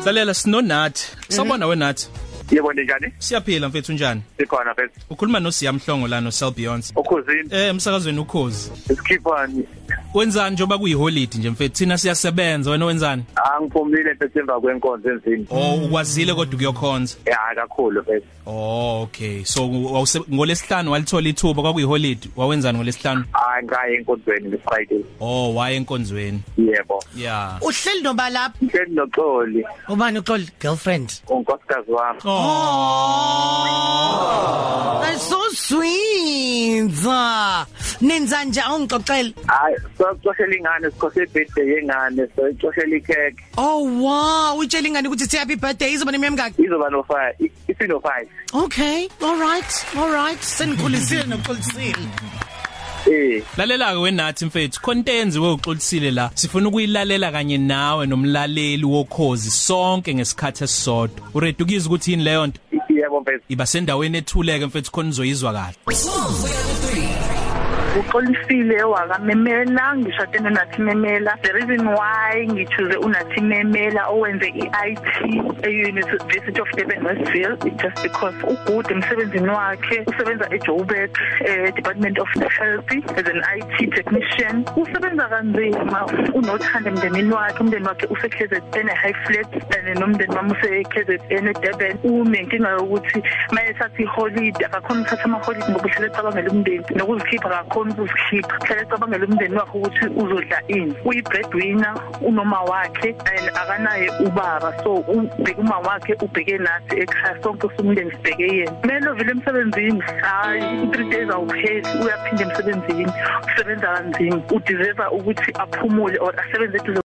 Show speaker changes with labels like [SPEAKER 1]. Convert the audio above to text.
[SPEAKER 1] siyakuhlalela sino nathi sabona we nathi
[SPEAKER 2] Yebo njani?
[SPEAKER 1] siyaphila mfethu njani
[SPEAKER 2] Sikhona phela.
[SPEAKER 1] ukhuluma noSiyamhlongo la noSel Beyonce
[SPEAKER 2] Ukhuzini,
[SPEAKER 1] eh umsakazweni ukhozi
[SPEAKER 2] isikhipani.
[SPEAKER 1] wenzani njoba kuyiholiday nje mfethu thina siyasebenza wena wenzani
[SPEAKER 2] Angiphumile phela emva kwenkonzo enzini.
[SPEAKER 1] oh ukwazile kodwa ukuyokhonza
[SPEAKER 2] Eh hayi kakhulu phela.
[SPEAKER 1] oh okay so wawuse- ngolesihlanu walithola ithuba kwakuyiholiday wawenzani ngolesihlanu
[SPEAKER 2] Hayi ngaye enkonzweni ngeFriday.
[SPEAKER 1] oh waye enkonzweni
[SPEAKER 2] Yebo.
[SPEAKER 1] yeah
[SPEAKER 3] uhleli noba lapha
[SPEAKER 2] Ngeni noxoli,
[SPEAKER 3] ubani uxoli girlfriend
[SPEAKER 2] unkosikazi wami.
[SPEAKER 3] oh that's so sweet Ah, nenza nje awungixoxele
[SPEAKER 2] Hayi, soxoshela ingane sikhose birthday yengane, soxoshela ikhekhe.
[SPEAKER 3] oh wow utshela ingane ukuthi it's happy birthday izoba nemnyama kake
[SPEAKER 2] Izoba no 5, isino 5.
[SPEAKER 3] okay all right all right senikhulisile noxolisile
[SPEAKER 2] Eh,
[SPEAKER 1] Lalela ke wenathi mfethu contents woxolisile la sifuna ukuyilalela kanye nawe nomlaleli wokhozi sonke ngesikhathi esisodwa uredukiza ukuthi yini leyo nto
[SPEAKER 2] yebo phela.
[SPEAKER 1] iba sendaweni ethuleke mfethu khona uzoyizwa kahle
[SPEAKER 4] uxolisile wakamemela ngishade nonathimemela the reason why ngichoose unathimemela owenze i-it e-university of durban westville is just because ugude emsebenzini wakhe usebenza ejoburg e-department of health as an it technician usebenza kanzima unothanda emndenini wakhe umndeni wakhe use-k z n e-high flat and nomndeni wami use-k z n edurban unenkinga yokuthi uma esathi iholide akakhona ukuthatha amaholide ngoba uhlele ecabangela umndeni nokuzikhipha akakhona ukuzikhipha uhlele ecabangela umndeni wakhe ukuthi uzodla ini uyi-breadwinner unoma wakhe and akanaye ubaba so ubheke uma wakhe ubheke nathi ekhaya sonke somndeni sibheke yena kumele ovile emsebenzini hhayi i-three days awupheli uyaphinda emsebenzini usebenza kanzima udeserva ukuthi aphumule or asebenze eduze